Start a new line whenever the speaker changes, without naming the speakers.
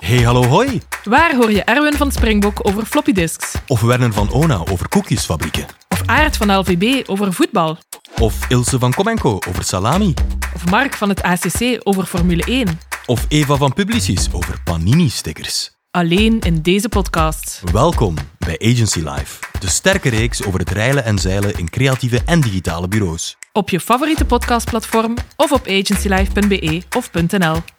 Hey hallo hoi!
Waar hoor je Erwin van Springbok over floppy disks?
Of Werner van Ona over koekjesfabrieken.
Of Aard van LVB over voetbal?
Of Ilse van Comenco over salami.
Of Mark van het ACC over Formule 1?
Of Eva van Publicis over panini-stickers.
Alleen in deze podcast.
Welkom bij Agency Live, de sterke reeks over het reilen en zeilen in creatieve en digitale bureaus.
Op je favoriete podcastplatform E of op agencylife.be of .nl.